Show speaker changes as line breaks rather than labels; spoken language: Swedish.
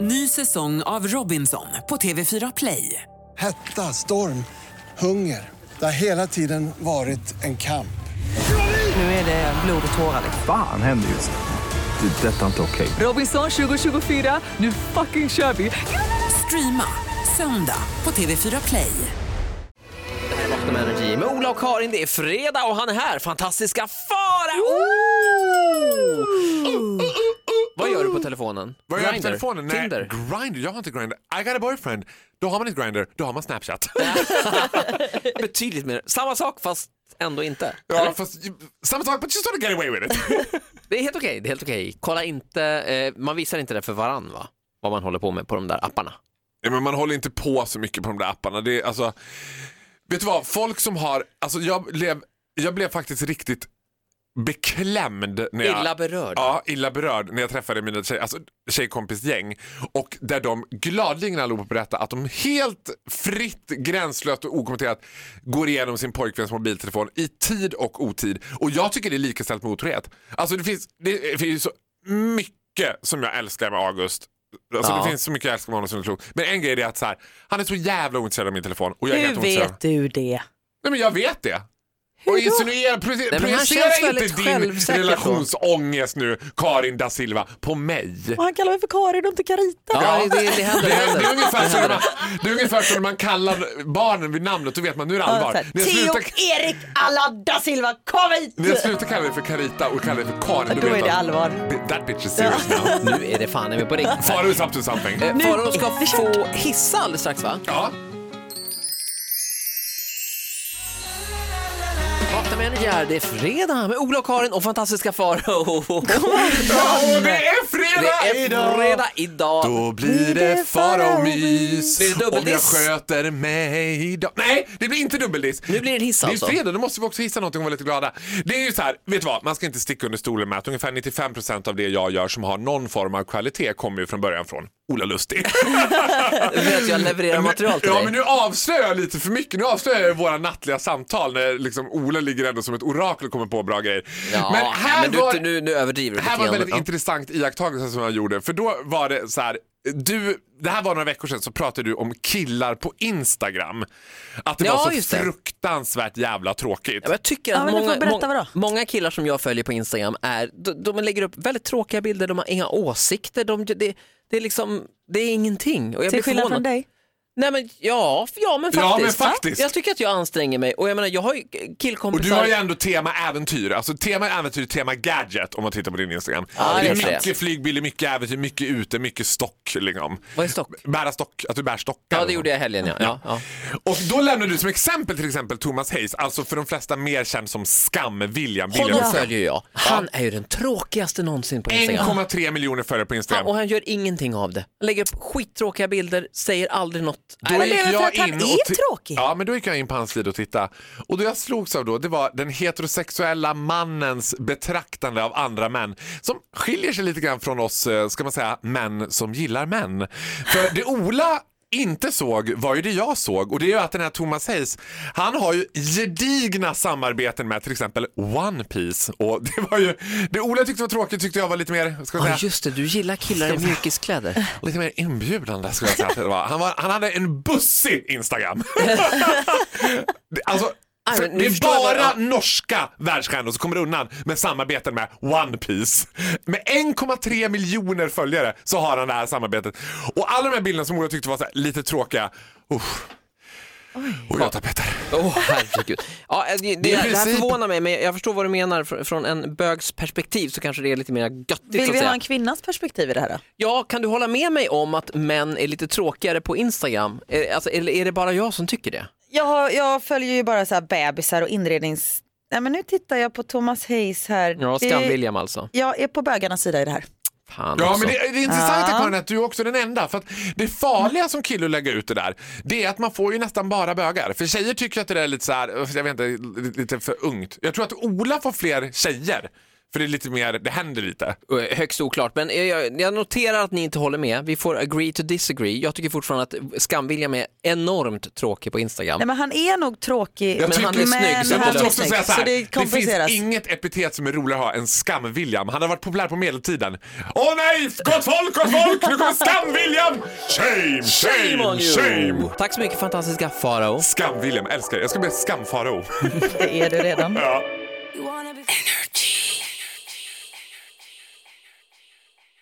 Ny säsong av Robinson på TV4 Play.
Hetta, storm, hunger. Det har hela tiden varit en kamp.
Nu är det blod och tårar.
Fan händer just nu. Det. är Detta är inte okej.
Robinson 2024, nu fucking kör vi! Streama söndag på TV4 Play.
Vakna med energi med Ola och Karin. Det är fredag och han är här. Fantastiska fara! Vad gör du på telefonen?
Vad gör jag på
Grindr?
telefonen? Nej,
Tinder?
Grindr? Jag har inte Grindr. I got a boyfriend. Då har man inte Grindr, då har man Snapchat.
Betydligt mer. Samma sak fast ändå inte.
ja,
Eller?
fast, samma sak, but you sort of get away with it.
Det är helt okej. Det är helt okej. Kolla inte, eh, man visar inte det för varann va? Vad man håller på med på de där apparna.
ja, men man håller inte på så mycket på de där apparna. Det är, alltså, vet du vad, folk som har... Alltså, jag, blev, jag blev faktiskt riktigt beklämd. När jag,
Illa berörd.
Ja, illa berörd när jag träffade mina tjej, alltså, tjejkompisgäng och där de gladeligen allihopa berättade att de helt fritt, gränslöst och okommenterat går igenom sin pojkväns mobiltelefon i tid och otid. Och jag tycker det är likaställt med otrohet. Alltså det finns, det finns så mycket som jag älskar med August. Alltså
Ja.
Det finns så mycket jag älskar med honom som är klokt. Men en grej är att så här, han är så jävla ointresserad av min telefon och jag är helt
Hur
ointresserad.
vet du det?
Nej men jag vet det. och insinuera, pro-
han
projicera
känns
inte
väldigt
din
självsäker då.
relationsångest nu Karin da Silva på mig.
Och han kallar mig för Karin och inte Carita.
Ja, det, det
Det,
händer.
det,
händer.
är ungefär
Det
som när
händer.
man, det är ungefär som när man kallar barnen vid namnet då vet man nu är det
Ja,
allvar.
så här,
När jag
Theo
slutar,
Erik alla da Silva, kom hit!
när jag slutar kalla dig för Carita och kallar dig för Karin
Då
vet
är det
man,
allvar.
That bitch is serious now.
Nu är det fan, är vi på riktigt.
Faro is up to something.
Eh,
Nu
Farao
är
ska
det kört.
få hissa alldeles strax va?
Ja.
Vakna med energi här, det är fredag med Ola och Karin och fantastiska Farao.
Och det är fredag!
Det är fredag idag.
Då blir det fara och mys
Blir det
om jag
dubbeldiss?
sköter mig idag. Nej, det blir inte dubbeldiss.
Nu blir det en hiss alltså.
Det är ju fredag, då måste vi också hissa någonting och vara lite glada. Det är ju så här, vet du vad, man ska inte sticka under stolen med att ungefär 95% av det jag gör som har någon form av kvalitet kommer ju från början från Ola Lustig.
Du vet jag levererar material till
ja,
dig.
men nu avslöjar jag lite för mycket. Nu avslöjar jag våra nattliga samtal när liksom Ola ligger ändå som ett orakel och kommer på bra grejer.
Ja,
men här
men du,
var...
nu, nu överdriver du
Det här var
lite
en
grann.
väldigt intressant iakttagelse som jag gjorde. För då var det så här, du, det här var några veckor sedan så pratade du om killar på Instagram. Att det
Ja,
var
just
så
det.
fruktansvärt jävla tråkigt.
Ja, men jag tycker
Ja,
att
men du får
många,
berätta,
många,
vadå?
många killar som jag följer på Instagram är, de, de lägger upp väldigt tråkiga bilder, de har inga åsikter, de, det, det, är liksom, det är ingenting. Och jag blir
Till skillnad
förvånad.
från dig.
Nej, men, ja, f- ja, men
Ja,
faktiskt.
men faktiskt.
Jag tycker att jag anstränger mig och jag menar, jag har ju
Och
killkompisar.
du har ju ändå tema äventyr, alltså tema äventyr, tema gadget om man tittar på din Instagram.
Ja, det
det är
är det.
mycket flygbilder, mycket äventyr, mycket ute, mycket stock. Liksom.
Vad är stock?
Bära stock, att du bär stockar.
Ja, det gjorde jag i helgen ja. ja, ja.
Och då lämnade du som exempel till exempel Thomas Hayes, alltså för de flesta mer känd som Skam, William.
Honom
William.
följer jag. Han är ju den tråkigaste någonsin på Instagram.
1,3 miljoner följare på Instagram.
Han, och han gör ingenting av det. Han lägger upp skittråkiga bilder, säger aldrig något.
Då
Nej,
det är
gick
väl för
jag
att han
in
är
och ti-
tråkig.
Ja, men då gick jag in på hans sida och tittade. Och det jag slogs av då, det var den heterosexuella mannens betraktande av andra män som skiljer sig lite grann från oss, eh, ska man säga, män som gillar män. För det Ola inte såg var ju det jag såg och det är ju att den här Thomas Hayes, han har ju gedigna samarbeten med till exempel One Piece och det var ju, det Ola tyckte var tråkigt tyckte jag var lite mer, ska man säga,
Ja, just det, du gillar killar i mjukiskläder.
lite mer inbjudande skulle jag säga att det var. Han, var, han hade en bussig Instagram. Det- alltså,
Nej,
för
men nu
det är
förstår jag
bara
vad-
norska världsstjärnor som kommer undan med samarbeten med One Piece. Med 1,3 miljoner följare så har han det här samarbetet. Och alla de här bilderna som Ola tyckte var så här, lite tråkiga, usch. Och jag tar Petter.
Åh herregud. Ja, det, det,
I
det här
princip-
förvånar mig men jag förstår vad du menar. Fr- Från en bögs perspektiv så kanske det är lite mer göttigt. så
Vill
att
vi
säga.
ha en kvinnas perspektiv i det här då?
Ja, kan du hålla med mig om att män är lite tråkigare på Instagram? Eh, Alltså, eller är det bara jag som tycker det?
Jag, har, jag följer ju bara så här bebisar och inrednings... Nej men nu tittar jag på Thomas Hayes här.
Ja,
Det-
Skam-William alltså.
Jag är på bögarnas sida i det här.
Fan
Ja,
också.
men det, det är intressant Karin att du är också den enda. För att det farliga som kille att lägga ut det där, det är att man får ju nästan bara bögar. För tjejer tycker att det där är lite så här, jag vet inte, lite för ungt. Jag tror att Ola får fler tjejer För det är lite mer, det händer lite.
Eh, Högst oklart, men eh, jag, jag noterar att ni inte håller med. Vi får agree to disagree. Jag tycker fortfarande att Skam-William är enormt tråkig på Instagram.
Nej men han är nog tråkig.
Jag
Men han är snygg, så
Jag
det
måste
löser
också säga så här,
det
det, finns
kompenseras.
inget epitet som är roligare att ha än Skam-William. Han har varit populär på medeltiden. Åh nej, gott folk, gott folk, nu kommer Skam-William! Shame, shame, shame!
Tack så mycket fantastiska Farao.
Skam-William, älskar det. Jag ska bli skamfarao.
Det är du redan.